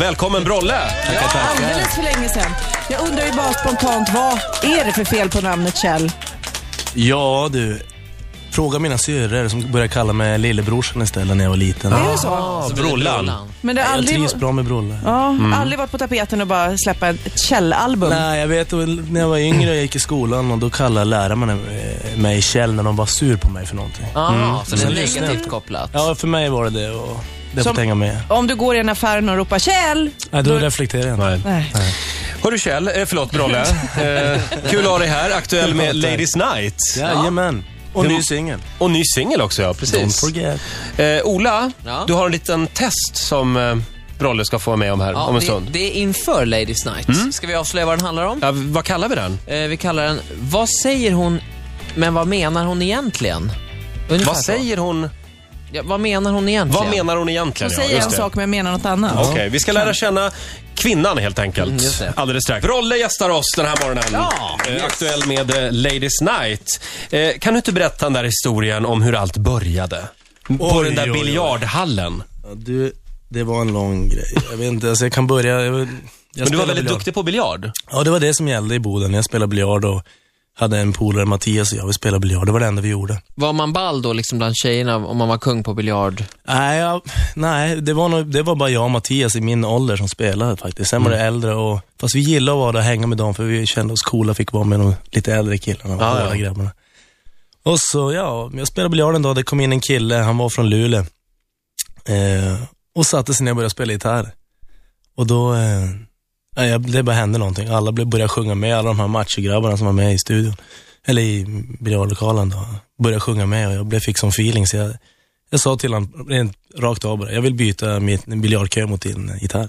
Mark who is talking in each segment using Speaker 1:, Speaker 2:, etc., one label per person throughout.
Speaker 1: Välkommen Brolle!
Speaker 2: Ja, alldeles för länge sedan. Jag undrar ju bara spontant, vad är det för fel på namnet Kjell?
Speaker 3: Ja du, fråga mina syrror som började kalla mig lillebrorsan istället när jag var liten.
Speaker 2: Är det så?
Speaker 1: Ah, Brollan.
Speaker 2: Men det har
Speaker 3: Jag
Speaker 2: aldrig,
Speaker 3: trivs bra med Brolle.
Speaker 2: ja, aldrig varit på tapeten att bara släppa ett Kjell-album?
Speaker 3: Nej, jag vet väl, när jag var yngre och jag gick i skolan och då kallade lärarna eh, mig Kjell när de var sur på mig för någonting.
Speaker 4: Ah,
Speaker 1: Mm.
Speaker 4: Så det är negativt kopplat.
Speaker 3: Ja, för mig var det det och det
Speaker 2: Som-
Speaker 3: får hänga med.
Speaker 2: Om du går i en affär och ropar Kjell!
Speaker 3: Nej, då reflekterar jag inte.
Speaker 1: Nej.
Speaker 2: Nej.
Speaker 1: Hörru Kjell, eh, förlåt Brolle. Eh, kul att ha dig här, aktuell med Ladies Night.
Speaker 3: Jajamän. Och ny singel.
Speaker 1: Och ny singel också ja,
Speaker 3: Don't
Speaker 1: precis.
Speaker 3: forget.
Speaker 1: Eh, Ola,
Speaker 4: Ja.
Speaker 1: du har en liten test som eh, Brolle ska få vara med om här
Speaker 4: Ja,
Speaker 1: om en
Speaker 4: det,
Speaker 1: stund. Mm.
Speaker 4: Det är inför Ladies Night. Ska vi avslöja vad den handlar om?
Speaker 1: Ja, vad kallar vi den?
Speaker 4: Eh, vi kallar den Vad säger hon, men vad menar hon egentligen? Ungefär
Speaker 1: Vad
Speaker 4: så.
Speaker 1: säger hon?
Speaker 4: Ja, vad menar hon egentligen?
Speaker 1: Vad menar hon egentligen?
Speaker 2: Hon
Speaker 1: Ja,
Speaker 2: säger
Speaker 1: just
Speaker 2: en
Speaker 1: det.
Speaker 2: sak men menar något annat.
Speaker 1: Okej, vi ska lära känna kvinnan helt enkelt.
Speaker 4: Mm, just det.
Speaker 1: Alldeles strax. Brolle gästar oss den här morgonen.
Speaker 4: Ja,
Speaker 1: Eh, Aktuell med eh, Ladies Night. Eh, kan du inte berätta den där historien om hur allt började? På
Speaker 3: Oj,
Speaker 1: den där
Speaker 3: oj, oj.
Speaker 1: biljardhallen.
Speaker 3: Ja, Du, det var en lång grej. Jag vet inte, alltså jag kan börja. Jag, jag
Speaker 1: Men du var
Speaker 3: spelar
Speaker 1: väldigt
Speaker 3: biljard.
Speaker 1: duktig på biljard.
Speaker 3: Ja, det var det som gällde i Boden. Jag spelade biljard och hade en polare, Mattias och jag, vi spelade biljard. Det var det enda vi gjorde.
Speaker 4: Var man ball då liksom bland tjejerna om man var kung på biljard?
Speaker 3: Nej, jag, nej det, var nog, det var bara jag och Mattias i min ålder som spelade faktiskt. Sen var det
Speaker 1: Mm.
Speaker 3: äldre och, fast vi gillade att vara där och hänga med dem för vi kände oss coola, fick vara med de lite äldre killarna, de
Speaker 1: Ja, ja.
Speaker 3: hårda grabbarna. Och så, ja, jag spelade biljard en dag, det kom in en kille, han var från Luleå. Eh, och satte sig ner och började spela gitarr. Och då, eh, ja, jag- det bara hände någonting. Alla blev- började sjunga med, alla de här machograbbarna som var med i studion, eller i biljardlokalen då, började sjunga med och jag blev, fick sån feeling så jag jag sa till honom rent rakt av bara, jag vill byta min biljardkö mot din eh, gitarr.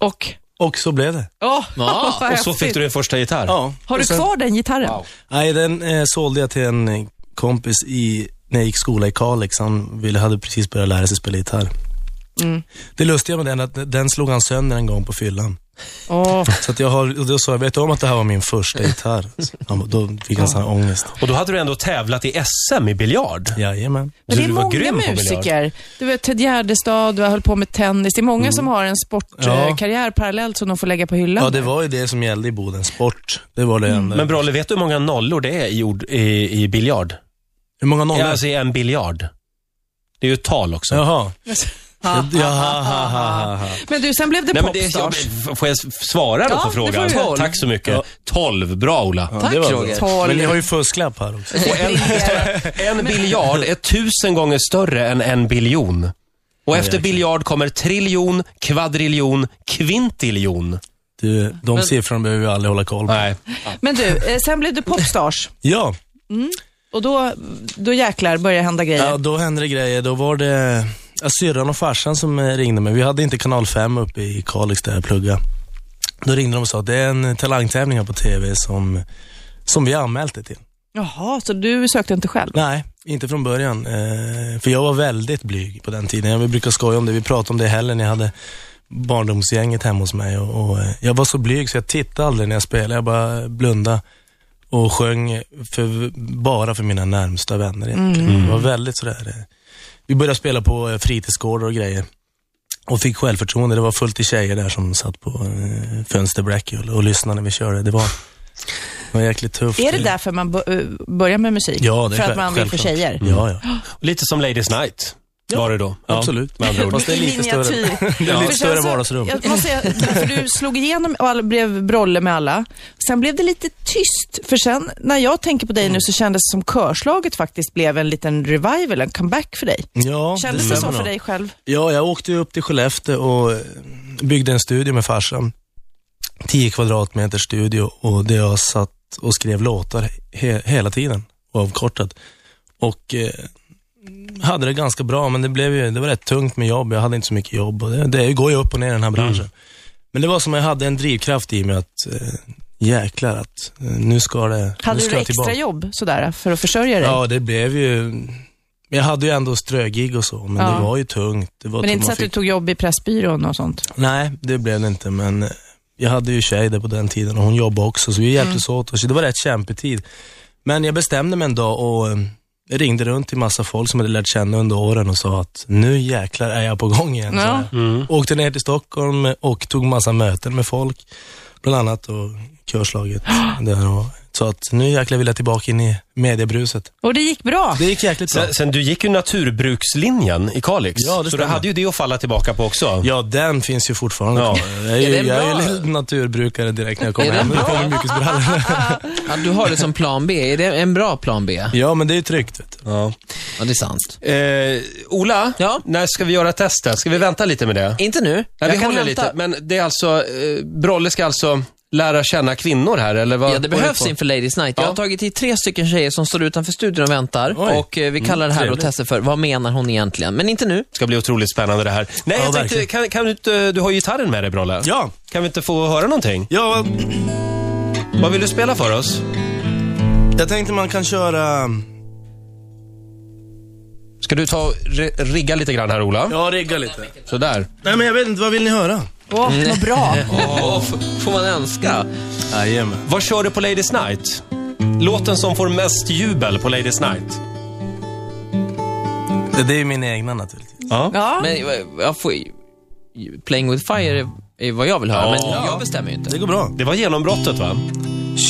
Speaker 2: Och?
Speaker 3: Och så blev det.
Speaker 2: Åh,
Speaker 4: Ja,
Speaker 2: vad
Speaker 1: Och så fick
Speaker 2: häftigt.
Speaker 1: du din första gitarr.
Speaker 3: Ja.
Speaker 2: Har du
Speaker 3: Och sen-
Speaker 2: kvar den gitarren?
Speaker 3: Nej, den eh, sålde jag till en eh, kompis i, när jag gick skola i Kalix. Han ville, hade precis börjat lära sig spela gitarr. Det lustiga med den är att den slog han sönder en gång på fyllan.
Speaker 2: Åh,
Speaker 3: Så att jag har, och då sa jag, vet du om att det här var min första gitarr? Så Han, bara- då fick han sån här ångest.
Speaker 1: Och då hade du ändå tävlat i SM i biljard.
Speaker 3: Jajamän.
Speaker 2: Men det är
Speaker 1: du var
Speaker 2: många
Speaker 1: grym på biljard.
Speaker 2: musiker. Du vet Ted Gärdestad, du har hållit på med tennis. Det är många som har en
Speaker 3: Ja.
Speaker 2: sportkarriär parallellt som de får lägga på hyllan.
Speaker 3: Ja, det var ju det som gällde i Boden. Sport. Det var det enda.
Speaker 1: Men Brolle, vet du hur många nollor det är i, ord, i, i biljard?
Speaker 3: Hur många
Speaker 1: Ja,
Speaker 3: nollor?
Speaker 1: alltså i en biljard. Det är ju ett tal också.
Speaker 3: Jaha.
Speaker 2: Ha,
Speaker 3: Ja, ha, ha, ha, ha.
Speaker 2: Men du, sen blev det
Speaker 1: Nej, men det, jag,
Speaker 2: popstars.
Speaker 1: får jag svara då
Speaker 4: Ja,
Speaker 1: på
Speaker 4: det får
Speaker 1: frågan?
Speaker 4: du göra.
Speaker 1: Tack så mycket.
Speaker 3: Ja.
Speaker 1: 12. Bra Ola.
Speaker 3: Ja,
Speaker 4: Tack,
Speaker 3: det var bra.
Speaker 4: Roger.
Speaker 2: Tolv.
Speaker 3: Men ni har ju fusklapp här också.
Speaker 1: Och en, en biljard är tusen gånger större än en biljon. Och efter biljard kommer triljon, kvadriljon, kvintiljon.
Speaker 3: Du, de siffrorna behöver vi aldrig hålla koll på.
Speaker 1: Nej.
Speaker 2: Men du, eh, sen blev du popstars.
Speaker 3: Ja,
Speaker 2: Och då, då jäklar börjar hända grejer.
Speaker 3: ja, då hände det grejer. Då var det ja, syrran och farsan som eh, ringde mig. Vi hade inte kanal 5 uppe i Kalix där jag pluggade. Då ringde de och sa att det är en talangtävling här på TV som, som vi har anmält det till.
Speaker 2: Jaha, så du sökte inte själv?
Speaker 3: Nej, inte från början. Eh, för jag var väldigt blyg på den tiden. Jag brukar skoja om det. Vi pratade om det i helgen. Jag hade barndomsgänget hemma hos mig och, och eh, jag var så blyg så jag tittade aldrig när jag spelade. Jag bara blundade och sjöng för, bara för mina närmsta vänner egentligen.
Speaker 2: Mm.
Speaker 3: Det var väldigt sådär. eh, Vi började spela på eh, fritidsgårdar och grejer och fick självförtroende. Det var fullt i tjejer där som satt på eh, fönsterbräcket och, och lyssnade när vi körde. Det var, det var jäkligt tufft.
Speaker 2: Är det därför man bo- eh, börjar med musik?
Speaker 3: Ja, det är
Speaker 2: För att
Speaker 3: själv-
Speaker 2: man vill få tjejer?
Speaker 3: självklart. Ja, ja.
Speaker 1: Lite som Ladies Night var det då. Ja,
Speaker 3: Absolut.
Speaker 1: Med andra ord.
Speaker 3: Fast det är lite större, det är lite större vardagsrum.
Speaker 2: Jag måste säga, för du slog igenom och alla blev brolle med alla. Sen blev det lite tyst, för sen när jag tänker på dig nu så kändes det som körslaget faktiskt blev en liten revival, en comeback för dig.
Speaker 3: Ja,
Speaker 2: Kändes det, så
Speaker 3: stämmer
Speaker 2: för
Speaker 3: nog.
Speaker 2: dig själv?
Speaker 3: Ja, jag åkte ju upp till Skellefteå och eh, byggde en studio med farsan. 10 kvadratmeter studio och där jag satt och skrev låtar he- hela tiden, oavkortat. Och eh, hade det ganska bra, men det, blev ju, det var rätt tungt med jobb. Jag hade inte så mycket jobb och det, det går ju upp och ner i den här branschen.
Speaker 2: Mm.
Speaker 3: Men det var som jag hade en drivkraft i mig att eh, jäklar att eh, nu ska det... nu
Speaker 2: Hade
Speaker 3: ska
Speaker 2: du
Speaker 3: jag
Speaker 2: extra
Speaker 3: tillbaka.
Speaker 2: jobb sådär för att försörja dig?
Speaker 3: Ja, det blev ju... Men jag hade ju ändå strögig och så, men
Speaker 2: Ja.
Speaker 3: det var ju tungt. Det var
Speaker 2: Men det är inte så
Speaker 3: man
Speaker 2: att du
Speaker 3: fick-
Speaker 2: tog jobb i Pressbyrån och sånt?
Speaker 3: Nej, det blev det inte, men eh, jag hade ju tjej där på den tiden
Speaker 2: Mm.
Speaker 3: och hon jobbade också, så vi hjälptes åt. Och så det var rätt kämpig tid. Men jag bestämde mig en dag och eh, Jag ringde runt till massa folk som hade lärt känna under åren och sa att nu jäklar är jag på gång igen.
Speaker 2: Ja.
Speaker 3: Så här. Åkte ner till Stockholm och tog massa möten med folk, bland annat och körslaget där och sa att nu jäklar vill jag tillbaka in i mediebruset.
Speaker 2: Och det gick bra.
Speaker 3: Det gick jäkligt bra.
Speaker 1: Sen, sen du gick ju naturbrukslinjen i Kalix.
Speaker 3: Ja, det
Speaker 1: så du
Speaker 3: stämmer.
Speaker 1: hade ju det att falla tillbaka på också.
Speaker 3: Ja, den finns ju fortfarande
Speaker 1: Ja.
Speaker 3: kvar. Jag är,
Speaker 4: Är
Speaker 3: ju,
Speaker 4: den
Speaker 3: jag är
Speaker 4: bra?
Speaker 3: ju lite naturbrukare direkt när jag kommer
Speaker 4: Är den
Speaker 3: hem. Nu kommer mjukisbrallor.
Speaker 4: Ja, du har det som plan B. Är det en bra plan B?
Speaker 3: Ja, men det är ju tryggt. Vet du.
Speaker 1: Ja.
Speaker 4: Ja, det är sant.
Speaker 1: Eh, Ola,
Speaker 4: Ja?
Speaker 1: när ska vi göra testet? Ska vi vänta lite med det?
Speaker 4: Inte nu.
Speaker 1: Nej,
Speaker 4: Jag
Speaker 1: vi
Speaker 4: kan
Speaker 1: håller
Speaker 4: hämta-
Speaker 1: lite. Men det är alltså, eh, Brolle ska alltså lära känna kvinnor här, eller vad?
Speaker 4: Ja, det
Speaker 1: vad är
Speaker 4: behövs
Speaker 1: på?
Speaker 4: inför Ladies Night. Jag
Speaker 1: Ja.
Speaker 4: har tagit hit tre stycken tjejer som står utanför studion och väntar.
Speaker 3: Oj.
Speaker 4: Och eh, vi kallar det här
Speaker 1: Mm,
Speaker 4: då
Speaker 3: trevligt.
Speaker 4: testet för, vad menar hon egentligen? Men inte nu.
Speaker 1: Det ska bli otroligt spännande det här. Nej,
Speaker 3: Ja,
Speaker 1: jag tänkte,
Speaker 3: verkligen.
Speaker 1: kan, kan du inte, du har ju gitarren med dig Brolle.
Speaker 3: Ja,
Speaker 1: Kan vi inte få höra någonting?
Speaker 3: ja
Speaker 1: Vad vill du spela för oss?
Speaker 3: jag tänkte man kan köra...
Speaker 1: Ska du ta och re- rigga lite grann här Ola?
Speaker 3: Ja, rigga lite.
Speaker 1: Sådär.
Speaker 3: Nej, men jag vet inte. Vad vill ni höra?
Speaker 2: Åh, vad bra.
Speaker 4: Åh, f- får man önska?
Speaker 3: Jajamän.
Speaker 1: Vad kör du på Ladies Night? Låten som får mest jubel på Ladies Night.
Speaker 3: Det, det är ju mina egna naturligtvis.
Speaker 2: Ja.
Speaker 4: Men eh, jag får, Playing with fire är- är vad jag vill höra,
Speaker 1: Ja.
Speaker 4: men jag bestämmer ju inte.
Speaker 3: går bra.
Speaker 1: Det var genombrottet va?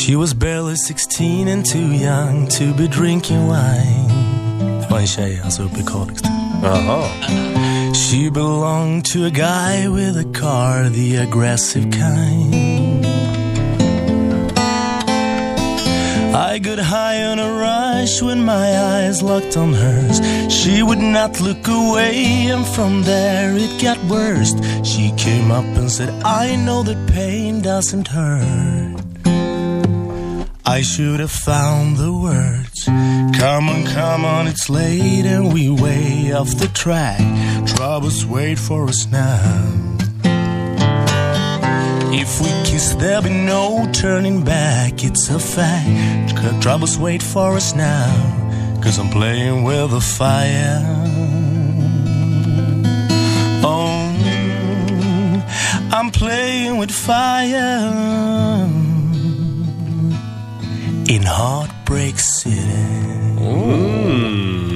Speaker 3: She was barely 16 and too young to be drinking wine. Det var en tjej alltså uppe i Kalix.
Speaker 1: Jaha.
Speaker 3: She belonged to a guy with a car, the aggressive kind. I got high on a rush when my eyes locked on hers. She would not look away, and from there it got worse. She came up and said, I know that pain doesn't hurt. I should have found the words. Come on, come on, it's late and we way off the track. Troubles wait for us now. If we kiss, there'll be no turning back, it's a fact. Tr- Troubles wait for us now, cause I'm playing with the fire. Oh, I'm playing with fire in Heartbreak City.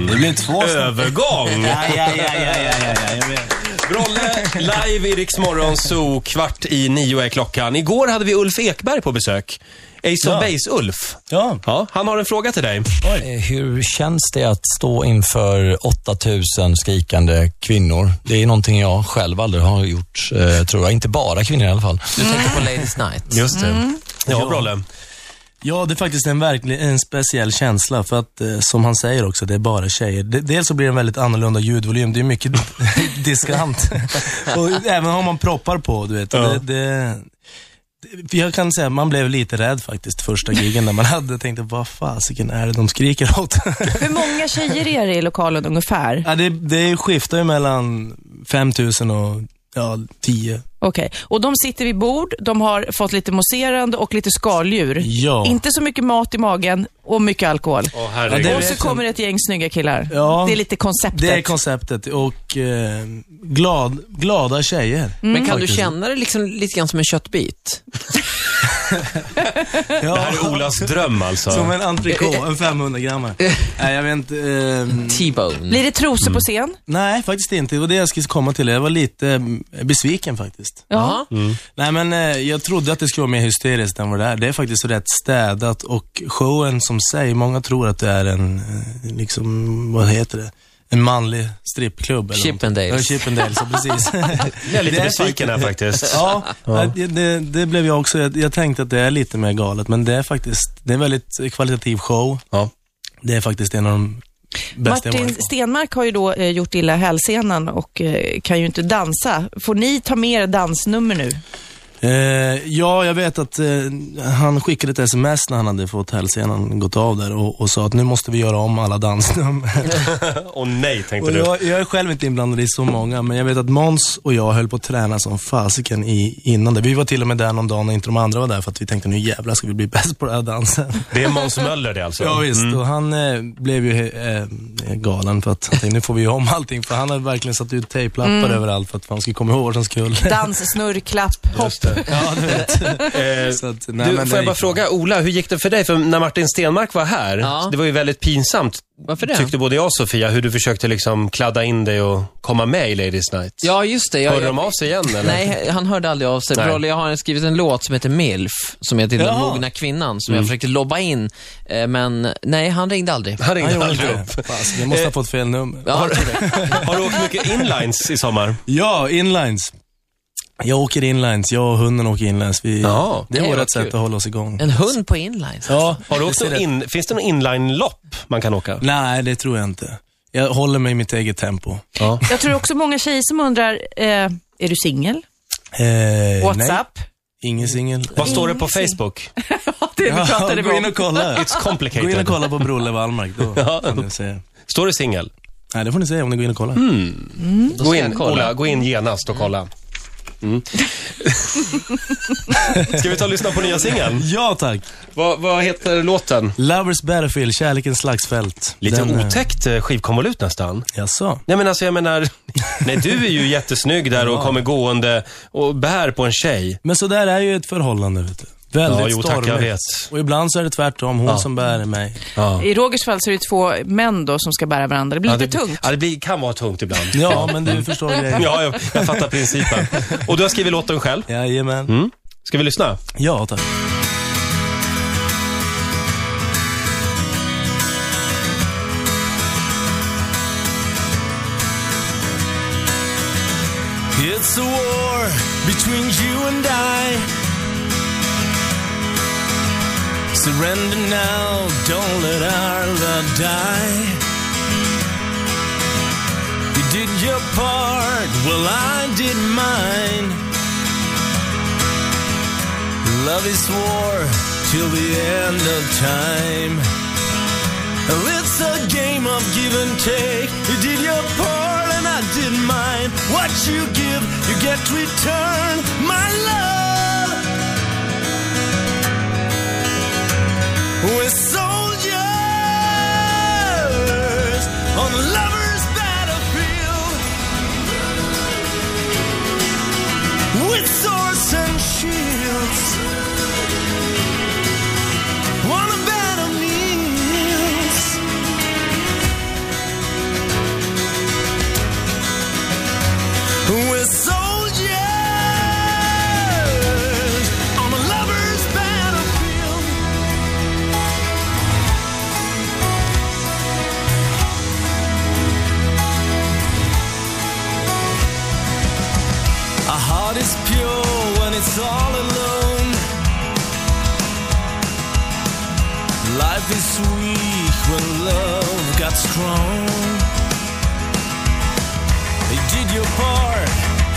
Speaker 3: Det blev två
Speaker 1: Övergång!
Speaker 3: Ja, ja, ja, ja, ja, ja, ja, jag vet.
Speaker 1: Brolle, live i Rix Morgon Zoo, kvart i nio är klockan. Igår hade vi Ulf Ekberg på besök. Ace
Speaker 3: Ja.
Speaker 1: of Base-Ulf.
Speaker 3: Ja.
Speaker 1: Ja, han har en fråga till dig.
Speaker 5: Eh, Hur känns det att stå inför 8000 skrikande kvinnor? Det är någonting jag själv aldrig har gjort, eh, tror jag. Inte bara kvinnor i alla fall.
Speaker 4: Du tänker på Ladies Night.
Speaker 1: Just det. Mm. Ja, Brolle.
Speaker 3: ja, det är faktiskt en, verklig, en speciell känsla för att, eh, som han säger också, det är bara tjejer. De, dels så blir det en väldigt annorlunda ljudvolym, det är mycket diskant. och även om man proppar på, du vet. och
Speaker 1: Ja.
Speaker 3: Det, det, för jag kan säga att man blev lite rädd faktiskt första gigen när man hade. Jag tänkte, vad fasiken är det de skriker åt?
Speaker 2: Hur många tjejer är det i lokalen ungefär?
Speaker 3: ja, det, det skiftar ju mellan 5000 och ja, 10
Speaker 2: Okej. Och de sitter vid bord, de har fått lite mousserande och lite skaldjur.
Speaker 3: Ja.
Speaker 2: Inte så mycket mat i magen och mycket alkohol.
Speaker 1: Åh,
Speaker 3: Ja, det
Speaker 1: herregud.
Speaker 2: och
Speaker 3: vet
Speaker 2: så
Speaker 3: jag.
Speaker 2: kommer ett gäng snygga killar.
Speaker 3: Ja.
Speaker 2: Det är lite konceptet.
Speaker 3: Det är konceptet och eh, glad, glada tjejer.
Speaker 4: Men kan du känna det liksom lite grann som en köttbit?
Speaker 1: Det här är Olas dröm alltså.
Speaker 3: Som en entrecote, en 500 grammar. Nej, jag vet inte. Eh,
Speaker 4: T-bone.
Speaker 2: Blir det trosor
Speaker 3: Mm.
Speaker 2: på scen?
Speaker 3: nej, faktiskt inte. Det var det jag skulle komma till. Jag var lite eh, besviken faktiskt.
Speaker 4: Ja.
Speaker 3: Nej, men eh, jag trodde att det skulle vara mer hysteriskt än vad det är. Det är faktiskt rätt städat och showen som sig, många tror att det är en, eh, liksom, vad heter det? En manlig strippklubb. eller
Speaker 4: Chippendales.
Speaker 3: någonting. Ja, Chippendales, ja, precis.
Speaker 1: Jag är lite
Speaker 3: Det är
Speaker 1: besviken här faktiskt.
Speaker 3: Ja, Det, det, det blev jag också. Jag, jag tänkte att det är lite mer galet, men det är faktiskt, det är en väldigt kvalitativ show.
Speaker 1: Ja.
Speaker 3: Det är faktiskt en av de bästa jag
Speaker 2: Martin
Speaker 3: varit på.
Speaker 2: Stenmark har ju då eh, gjort illa hälsenan och eh, kan ju inte dansa. Får ni ta med er dansnummer nu?
Speaker 3: Eh, ja, jag vet att eh, han skickade ett sms när han hade fått hälsenan gått av där och, och sa att nu måste vi göra om alla dansnummer.
Speaker 1: Och nej, tänkte
Speaker 3: och
Speaker 1: du.
Speaker 3: jag, jag är själv inte inblandad i så många, men jag vet att Måns och jag höll på att träna som fasiken i, innan det. Vi var till och med där någon dag när inte de andra var där för att vi tänkte nu jävlar ska vi bli bäst på den här dansen.
Speaker 1: Det är Måns Möller det alltså.
Speaker 3: Ja visst, och han eh, blev ju eh, eh, galen för att han tänkte, nu får vi ju om allting. För han hade verkligen satt ut tejplappar överallt för att man skulle komma ihåg vad som skulle.
Speaker 2: Dans, snurr, klapp, hopp.
Speaker 3: ute.
Speaker 1: Ja, du vet. Eh,
Speaker 3: Så att, nej,
Speaker 1: Du,
Speaker 3: men
Speaker 1: får
Speaker 3: det
Speaker 1: jag bara
Speaker 3: gick-
Speaker 1: fråga Ola, hur gick det för dig? För när Martin Stenmark var här,
Speaker 4: Ja.
Speaker 1: det var ju väldigt pinsamt.
Speaker 4: Varför det?
Speaker 1: Tyckte både jag och Sofia, hur du försökte liksom kladda in dig och komma med i Ladies Night.
Speaker 4: Ja, just det. Jag,
Speaker 1: Hörde
Speaker 4: jag,
Speaker 1: de av sig igen eller?
Speaker 4: Nej, han hörde aldrig av sig.
Speaker 1: Nej.
Speaker 4: Brolle, jag har skrivit en låt som heter MILF, som heter Den
Speaker 3: Jaha.
Speaker 4: mogna kvinnan, som
Speaker 1: Mm.
Speaker 4: jag försökte lobba in. Eh, Men nej, han ringde aldrig.
Speaker 1: Han
Speaker 3: Han
Speaker 1: ringde
Speaker 3: gjorde
Speaker 1: aldrig
Speaker 3: det.
Speaker 1: upp.
Speaker 3: Fast, jag måste ha fått fel nummer.
Speaker 4: Ja, jag tror det.
Speaker 1: Har du åkt mycket inlines i sommar?
Speaker 3: Ja, inlines. Jag åker inlines. Jag och hunden åker inlines. Vi,
Speaker 1: Ja,
Speaker 3: det
Speaker 4: det
Speaker 3: är
Speaker 4: var
Speaker 3: vårt
Speaker 4: kul.
Speaker 3: sätt att hålla oss igång.
Speaker 4: En hund på inlines.
Speaker 3: Ja,
Speaker 1: Har du
Speaker 3: jag
Speaker 1: åkt
Speaker 3: ser
Speaker 1: någon
Speaker 3: det.
Speaker 1: in, finns det någon inline-lopp man kan åka?
Speaker 3: Nej, det tror jag inte. Jag håller mig i mitt eget tempo.
Speaker 1: Ja.
Speaker 2: Jag tror också många tjejer som undrar, eh, är du singel?
Speaker 3: Eh,
Speaker 2: WhatsApp?
Speaker 3: Nej, ingen singel.
Speaker 1: Vad står det på Facebook?
Speaker 2: Ja, det vi pratade
Speaker 3: gå in
Speaker 2: om.
Speaker 3: och
Speaker 1: It's
Speaker 3: kolla. Gå in och
Speaker 1: complicated.
Speaker 3: kolla på Brolle Wallmark. Då
Speaker 1: Ja.
Speaker 3: får ni se.
Speaker 1: Står det singel?
Speaker 3: Nej, det får ni se om ni går in och kollar.
Speaker 4: Då
Speaker 1: Gå
Speaker 4: ska jag
Speaker 1: in,
Speaker 4: kolla.
Speaker 1: Ola, gå in genast och kolla. Mm. Ska vi ta och lyssna på nya singeln?
Speaker 3: Ja, tack.
Speaker 1: Vad, vad heter låten?
Speaker 3: Lovers Battlefield, kärlekens slagsfält.
Speaker 1: Lite
Speaker 3: Den, eh,
Speaker 1: otäckt eh, skivkonvolut nästan.
Speaker 3: Jaså?
Speaker 1: Nej men alltså jag menar, nej du är ju jättesnygg där och kommer gående och bär på en tjej.
Speaker 3: Men så där är ju ett förhållande, vet du. Väldigt
Speaker 1: Ja, jo, tack, jag
Speaker 3: stormigt.
Speaker 1: vet.
Speaker 3: Och ibland så är det tvärtom. Hon
Speaker 1: Ja.
Speaker 3: som bär mig.
Speaker 1: Ja.
Speaker 2: I Rogers fall så är det två män då som ska bära varandra. Det blir lite tungt.
Speaker 1: Ja, det blir, kan vara tungt ibland.
Speaker 3: Ja, men du förstår grejen.
Speaker 1: Ja, jag, jag fattar principen. Och du har skrivit låten själv.
Speaker 3: Jajamän.
Speaker 1: Mm. Ska vi lyssna?
Speaker 3: Ja, tack. It's a war between you and I. Surrender now, don't let our love die. You did your part, well, I did mine. Love is war till the end of time. Oh, It's a game of give and take. You did your part and I did mine. What you give, you get return. My love. We're soldiers on the lovers' battlefield. with swords and shields. One of enemies. We're soldiers on a lover's battlefield. Our heart is pure when it's all alone. Life is weak when love got strong. You did your part,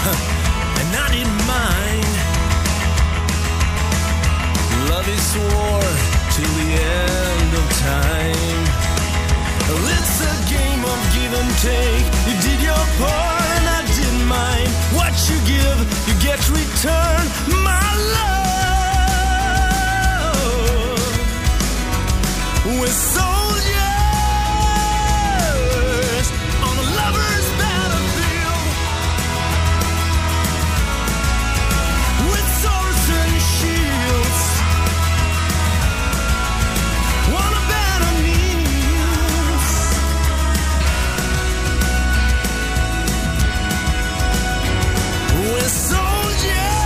Speaker 3: and I did mine. Love is war till the end of time. Well, It's a game of give and take. You did your part and I did mine. What you give, you get return. My love. We're soldiers on a lover's battlefield. With swords and shields. One of enemies. We're soldiers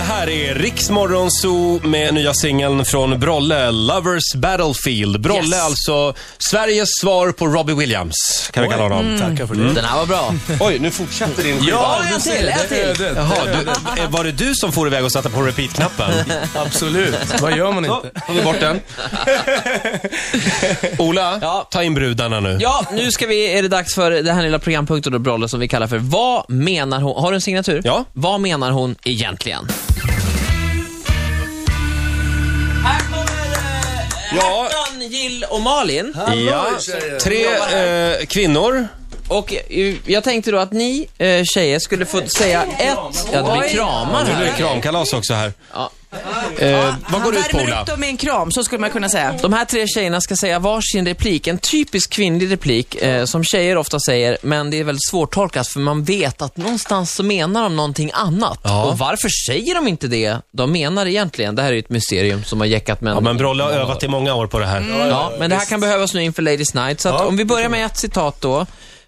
Speaker 1: här är Riksmorgon Zoo med nya singeln från Brolle, Lovers Battlefield. Brolle
Speaker 2: Yes.
Speaker 1: alltså Sveriges svar på Robbie Williams, kan vi kalla honom.
Speaker 3: Tackar för det.
Speaker 4: Mm. Den här var bra.
Speaker 1: Oj, nu fortsätter din skiva.
Speaker 4: Ja, en till, en till.
Speaker 1: Jaha, du, eh, var det du som for iväg och satte på repeat-knappen?
Speaker 3: Absolut. Vad gör man
Speaker 1: Så,
Speaker 3: inte?
Speaker 1: får vi bort den. Ola,
Speaker 4: Ja.
Speaker 1: ta in brudarna nu.
Speaker 4: Ja, nu ska vi, är det dags för den här lilla programpunkten och Brolle som vi kallar för Vad menar hon? Har du en signatur?
Speaker 1: Ja.
Speaker 4: Vad menar hon egentligen? Här kommer
Speaker 1: Ja.
Speaker 4: Hertan, Jill och Malin.
Speaker 1: Ja, tre eh, kvinnor.
Speaker 4: Och eh, jag tänkte då att ni eh, tjejer skulle få säga ett... Ja, det blir kramar
Speaker 1: Nu blir det
Speaker 4: här.
Speaker 1: kramkalas också här.
Speaker 4: Ja.
Speaker 1: Eh, vad går det ut på,
Speaker 2: Värmer
Speaker 1: Ola?
Speaker 2: upp dem med en kram, så skulle man kunna säga.
Speaker 4: De här tre tjejerna ska säga varsin replik, en typisk kvinnlig replik eh, som tjejer ofta säger, men det är väldigt svårtolkat för man vet att någonstans så menar de någonting annat. Och varför säger de inte det de menar egentligen? Det här är ju ett mysterium som har jäckat män.
Speaker 1: Ja, men Brolle har övat i många år på det här.
Speaker 4: Ja, men det här kan behövas nu inför Ladies Night, så att om vi börjar med ett citat då.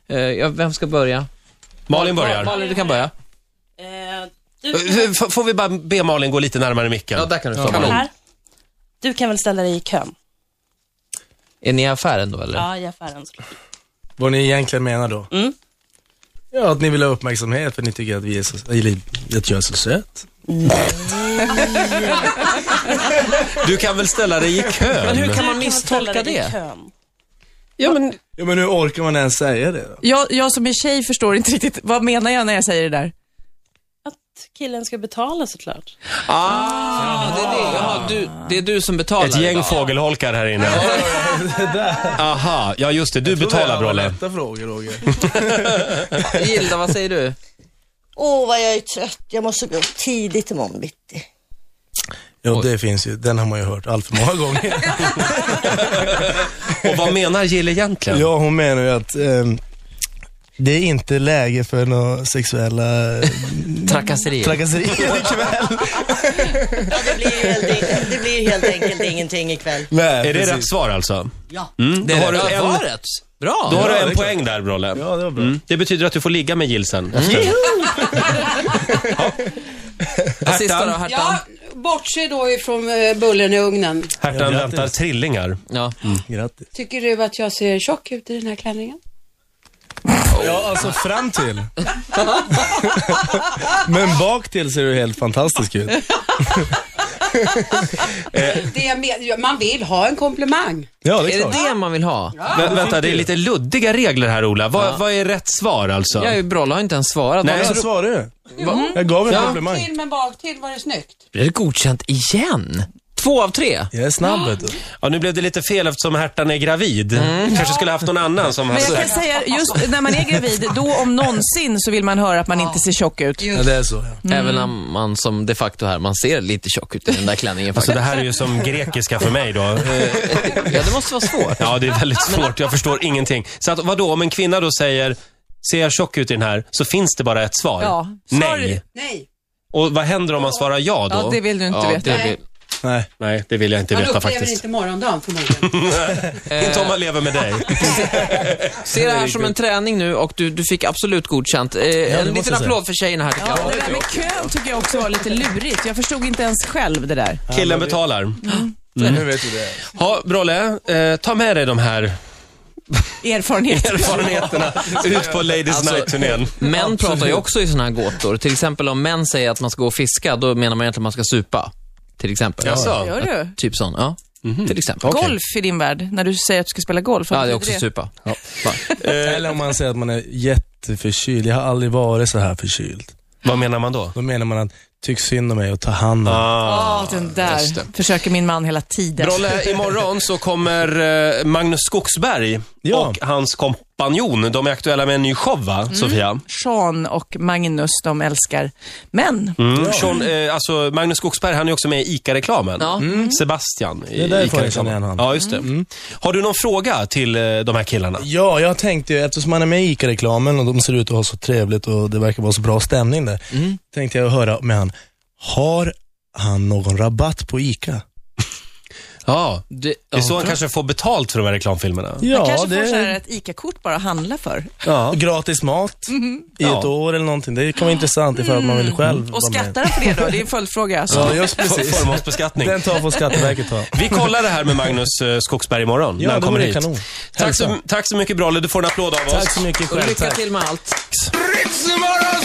Speaker 4: Eh, ja, vem ska börja?
Speaker 1: Malin börjar.
Speaker 4: Malin, du kan börja.
Speaker 6: Eh,
Speaker 1: Eh,
Speaker 6: du,
Speaker 1: f- Får vi bara be Malin gå lite närmare micken?
Speaker 4: Ja, där kan du stå.
Speaker 1: Kanon.
Speaker 4: Malin.
Speaker 6: här. du kan väl ställa dig i kön?
Speaker 4: Är ni i affären då eller?
Speaker 6: Ja, i affären.
Speaker 3: Vad ni egentligen menar då?
Speaker 6: Mm.
Speaker 3: Ja, att ni vill ha uppmärksamhet för ni tycker att vi är så, eller att jag är så söt.
Speaker 1: Du kan väl ställa dig i
Speaker 4: Men hur
Speaker 1: kön?
Speaker 4: kan man
Speaker 6: Du
Speaker 4: misstolka
Speaker 6: ställa dig i
Speaker 4: det?
Speaker 6: kön?
Speaker 1: Ja, men...
Speaker 3: Ja, men hur orkar man ens säga det då?
Speaker 2: Jag, jag som är tjej förstår inte riktigt, vad menar jag när jag säger det där?
Speaker 6: Att killen ska betala såklart.
Speaker 4: Ah, det är det. Jaha, du, det är du som betalar.
Speaker 1: Ett gäng
Speaker 4: idag.
Speaker 1: fågelholkar här inne. Aha, ja just det. Du betalar Brolle.
Speaker 3: Lätta frågor, Roger.
Speaker 4: Gilda, vad säger du?
Speaker 7: Åh, vad jag är trött. Jag måste gå upp tidigt imorgon bitti.
Speaker 3: Ja, det finns ju. Den har man ju hört allt för många gånger.
Speaker 1: Och vad menar Jill egentligen?
Speaker 3: Ja, hon menar ju att ehm, det är inte läge för några sexuella eh,
Speaker 4: Trakasserier.
Speaker 3: trakasserier ikväll.
Speaker 7: Ja, det blir, ju helt, det blir helt enkelt ingenting ikväll.
Speaker 3: Nej,
Speaker 1: Är det
Speaker 3: precis.
Speaker 1: rätt svar alltså?
Speaker 7: Ja.
Speaker 1: Mm, då
Speaker 4: Det
Speaker 1: har
Speaker 4: är
Speaker 1: du
Speaker 4: det.
Speaker 1: en,
Speaker 4: Svaret. Bra.
Speaker 1: då har du
Speaker 3: Ja, det
Speaker 1: en
Speaker 3: är klart.
Speaker 1: poäng där Brolle.
Speaker 3: Ja, det var bra.
Speaker 1: Mm. Det betyder att du får ligga med Jill
Speaker 2: Mm.
Speaker 1: sen. efter.
Speaker 4: Vad Sista då, Hertan.
Speaker 8: Ja, bortse då ifrån eh, bullen i ugnen.
Speaker 1: Hertan
Speaker 3: Ja, grattis.
Speaker 1: väntar trillingar.
Speaker 4: Ja.
Speaker 3: Mm. Grattis.
Speaker 8: Tycker du att jag ser tjock ut i den här klänningen?
Speaker 3: Ja, alltså fram till. Men bak till ser du helt fantastisk ut.
Speaker 8: Det jag men, ja, man vill ha en komplimang.
Speaker 3: Ja,
Speaker 4: Är det det man vill ha?
Speaker 1: Vä- vänta, det är lite luddiga regler här Ola. Vad, vad är rätt svar alltså?
Speaker 4: Jag är ju Brolle har inte ens svarat.
Speaker 1: Nej,
Speaker 4: Vad
Speaker 1: jag
Speaker 3: Jag
Speaker 4: tror-
Speaker 3: svarade ju. Mm. Jag gav en komplimang.
Speaker 8: Till men bak till var det snyggt.
Speaker 4: Blir det godkänt igen? Två av tre.
Speaker 3: Jag är snabb vet du.
Speaker 1: Ja, nu blev det lite fel eftersom Hertan är gravid. Kanske skulle haft någon annan som hade
Speaker 2: Mm. Men jag kan säga, just när man är gravid, då om någonsin så vill man höra att man inte ser tjock ut.
Speaker 3: Ja, det är så. Ja.
Speaker 4: Även om man som de facto här, man ser lite tjock ut i den där klänningen
Speaker 1: Alltså
Speaker 4: faktiskt.
Speaker 1: det här är ju som grekiska för mig då. Eh,
Speaker 4: Ja, det måste vara svårt.
Speaker 1: Ja, det är väldigt svårt. Jag förstår ingenting. Så att, vadå, om en kvinna då säger Ser jag tjock ut i den här? Så finns det bara ett svar.
Speaker 2: Ja.
Speaker 1: Nej.
Speaker 2: Sorry.
Speaker 8: Nej.
Speaker 1: Och vad händer om man svarar ja då?
Speaker 2: Ja, det vill du inte
Speaker 4: Ja,
Speaker 2: veta.
Speaker 4: det blir...
Speaker 3: Nej.
Speaker 1: Nej, det vill jag inte
Speaker 8: Man
Speaker 1: veta
Speaker 8: upplever
Speaker 1: faktiskt.
Speaker 8: inte morgondagen förmodligen.
Speaker 1: Inte om man lever med dig.
Speaker 4: Eh, Se det här som en träning nu och du, du fick absolut godkänt. Eh, en
Speaker 3: måste
Speaker 4: liten
Speaker 3: jag
Speaker 4: applåd för tjejerna här tycker jag.
Speaker 2: Det där med kön tycker jag också var lite lurigt. Jag förstod inte ens själv det där.
Speaker 1: Killen betalar.
Speaker 3: Nu vet du det.
Speaker 1: Mm. Ja, Brolle, eh, ta med dig de här
Speaker 2: Erfarenheter.
Speaker 1: erfarenheterna ut på Ladies
Speaker 4: Alltså-
Speaker 1: Night-turnén.
Speaker 4: Män pratar ju också i såna här gåtor. Till exempel om män säger att man ska gå och fiska, då menar man egentligen att man ska supa. Till exempel.
Speaker 1: Jaså?
Speaker 2: Gör du?
Speaker 4: Typ sån, ja. Till exempel.
Speaker 2: Golf i din värld, när du säger att du ska spela golf. vad
Speaker 4: Ja, det är
Speaker 2: betyder
Speaker 4: också supa. Va?
Speaker 3: Eller om man säger att man är jätteförkyld. Jag har aldrig varit så här förkyld.
Speaker 1: Vad menar man då?
Speaker 3: Då menar man att tyck synd om mig och ta hand om mig.
Speaker 2: Ja, den där försöker min man hela tiden.
Speaker 1: Ah. Brolle, imorgon så kommer eh, Magnus Skogsberg
Speaker 3: Ja.
Speaker 1: och hans kompanjon. De är aktuella med en ny show, va, Sofia?
Speaker 2: Sean och Magnus, de älskar män.
Speaker 1: Mm. Sean, eh, alltså Magnus Skogsberg, han är också med i ICA-reklamen.
Speaker 4: Ja.
Speaker 1: Mm. Sebastian i
Speaker 3: är därifrån jag
Speaker 1: ICA-reklamen.
Speaker 3: känner igen han.
Speaker 1: Ja, just det. Har du någon fråga till eh, de här killarna?
Speaker 3: Ja, jag tänkte ju, eftersom man är med i ICA-reklamen och de ser ut att ha så trevligt och det verkar vara så bra stämning där.
Speaker 1: Mm.
Speaker 3: Tänkte jag höra med han. Har han någon rabatt på ICA?
Speaker 1: Ja.
Speaker 4: Det,
Speaker 1: Det är så han kanske får betalt för de här reklamfilmerna.
Speaker 2: Man kanske får så här ett ICA-kort bara att handla för.
Speaker 1: Ja.
Speaker 3: gratis mat i ett
Speaker 1: Ja.
Speaker 3: år eller någonting. Det kan vara intressant ifall man vill själv
Speaker 2: Mhm. Mm. Och
Speaker 3: vara med.
Speaker 2: skattar han för det då? Det är en följdfråga. Så.
Speaker 3: Ja, just precis.
Speaker 1: Alltså, Förmånsbeskattning.
Speaker 3: Den tar från Skatteverket ta.
Speaker 1: Vi kollar det här med Magnus eh, Skogsberg imorgon
Speaker 3: Ja,
Speaker 1: när han
Speaker 3: det
Speaker 1: kommer
Speaker 3: vore
Speaker 1: hit.
Speaker 3: kanon.
Speaker 1: Tack, så,
Speaker 3: Hälsa.
Speaker 1: tack så mycket Bralle, du får en applåd av oss.
Speaker 3: Tack så mycket
Speaker 4: Och
Speaker 3: själv.
Speaker 4: lycka
Speaker 3: Tack.
Speaker 4: till med allt.
Speaker 1: Ritzmorgon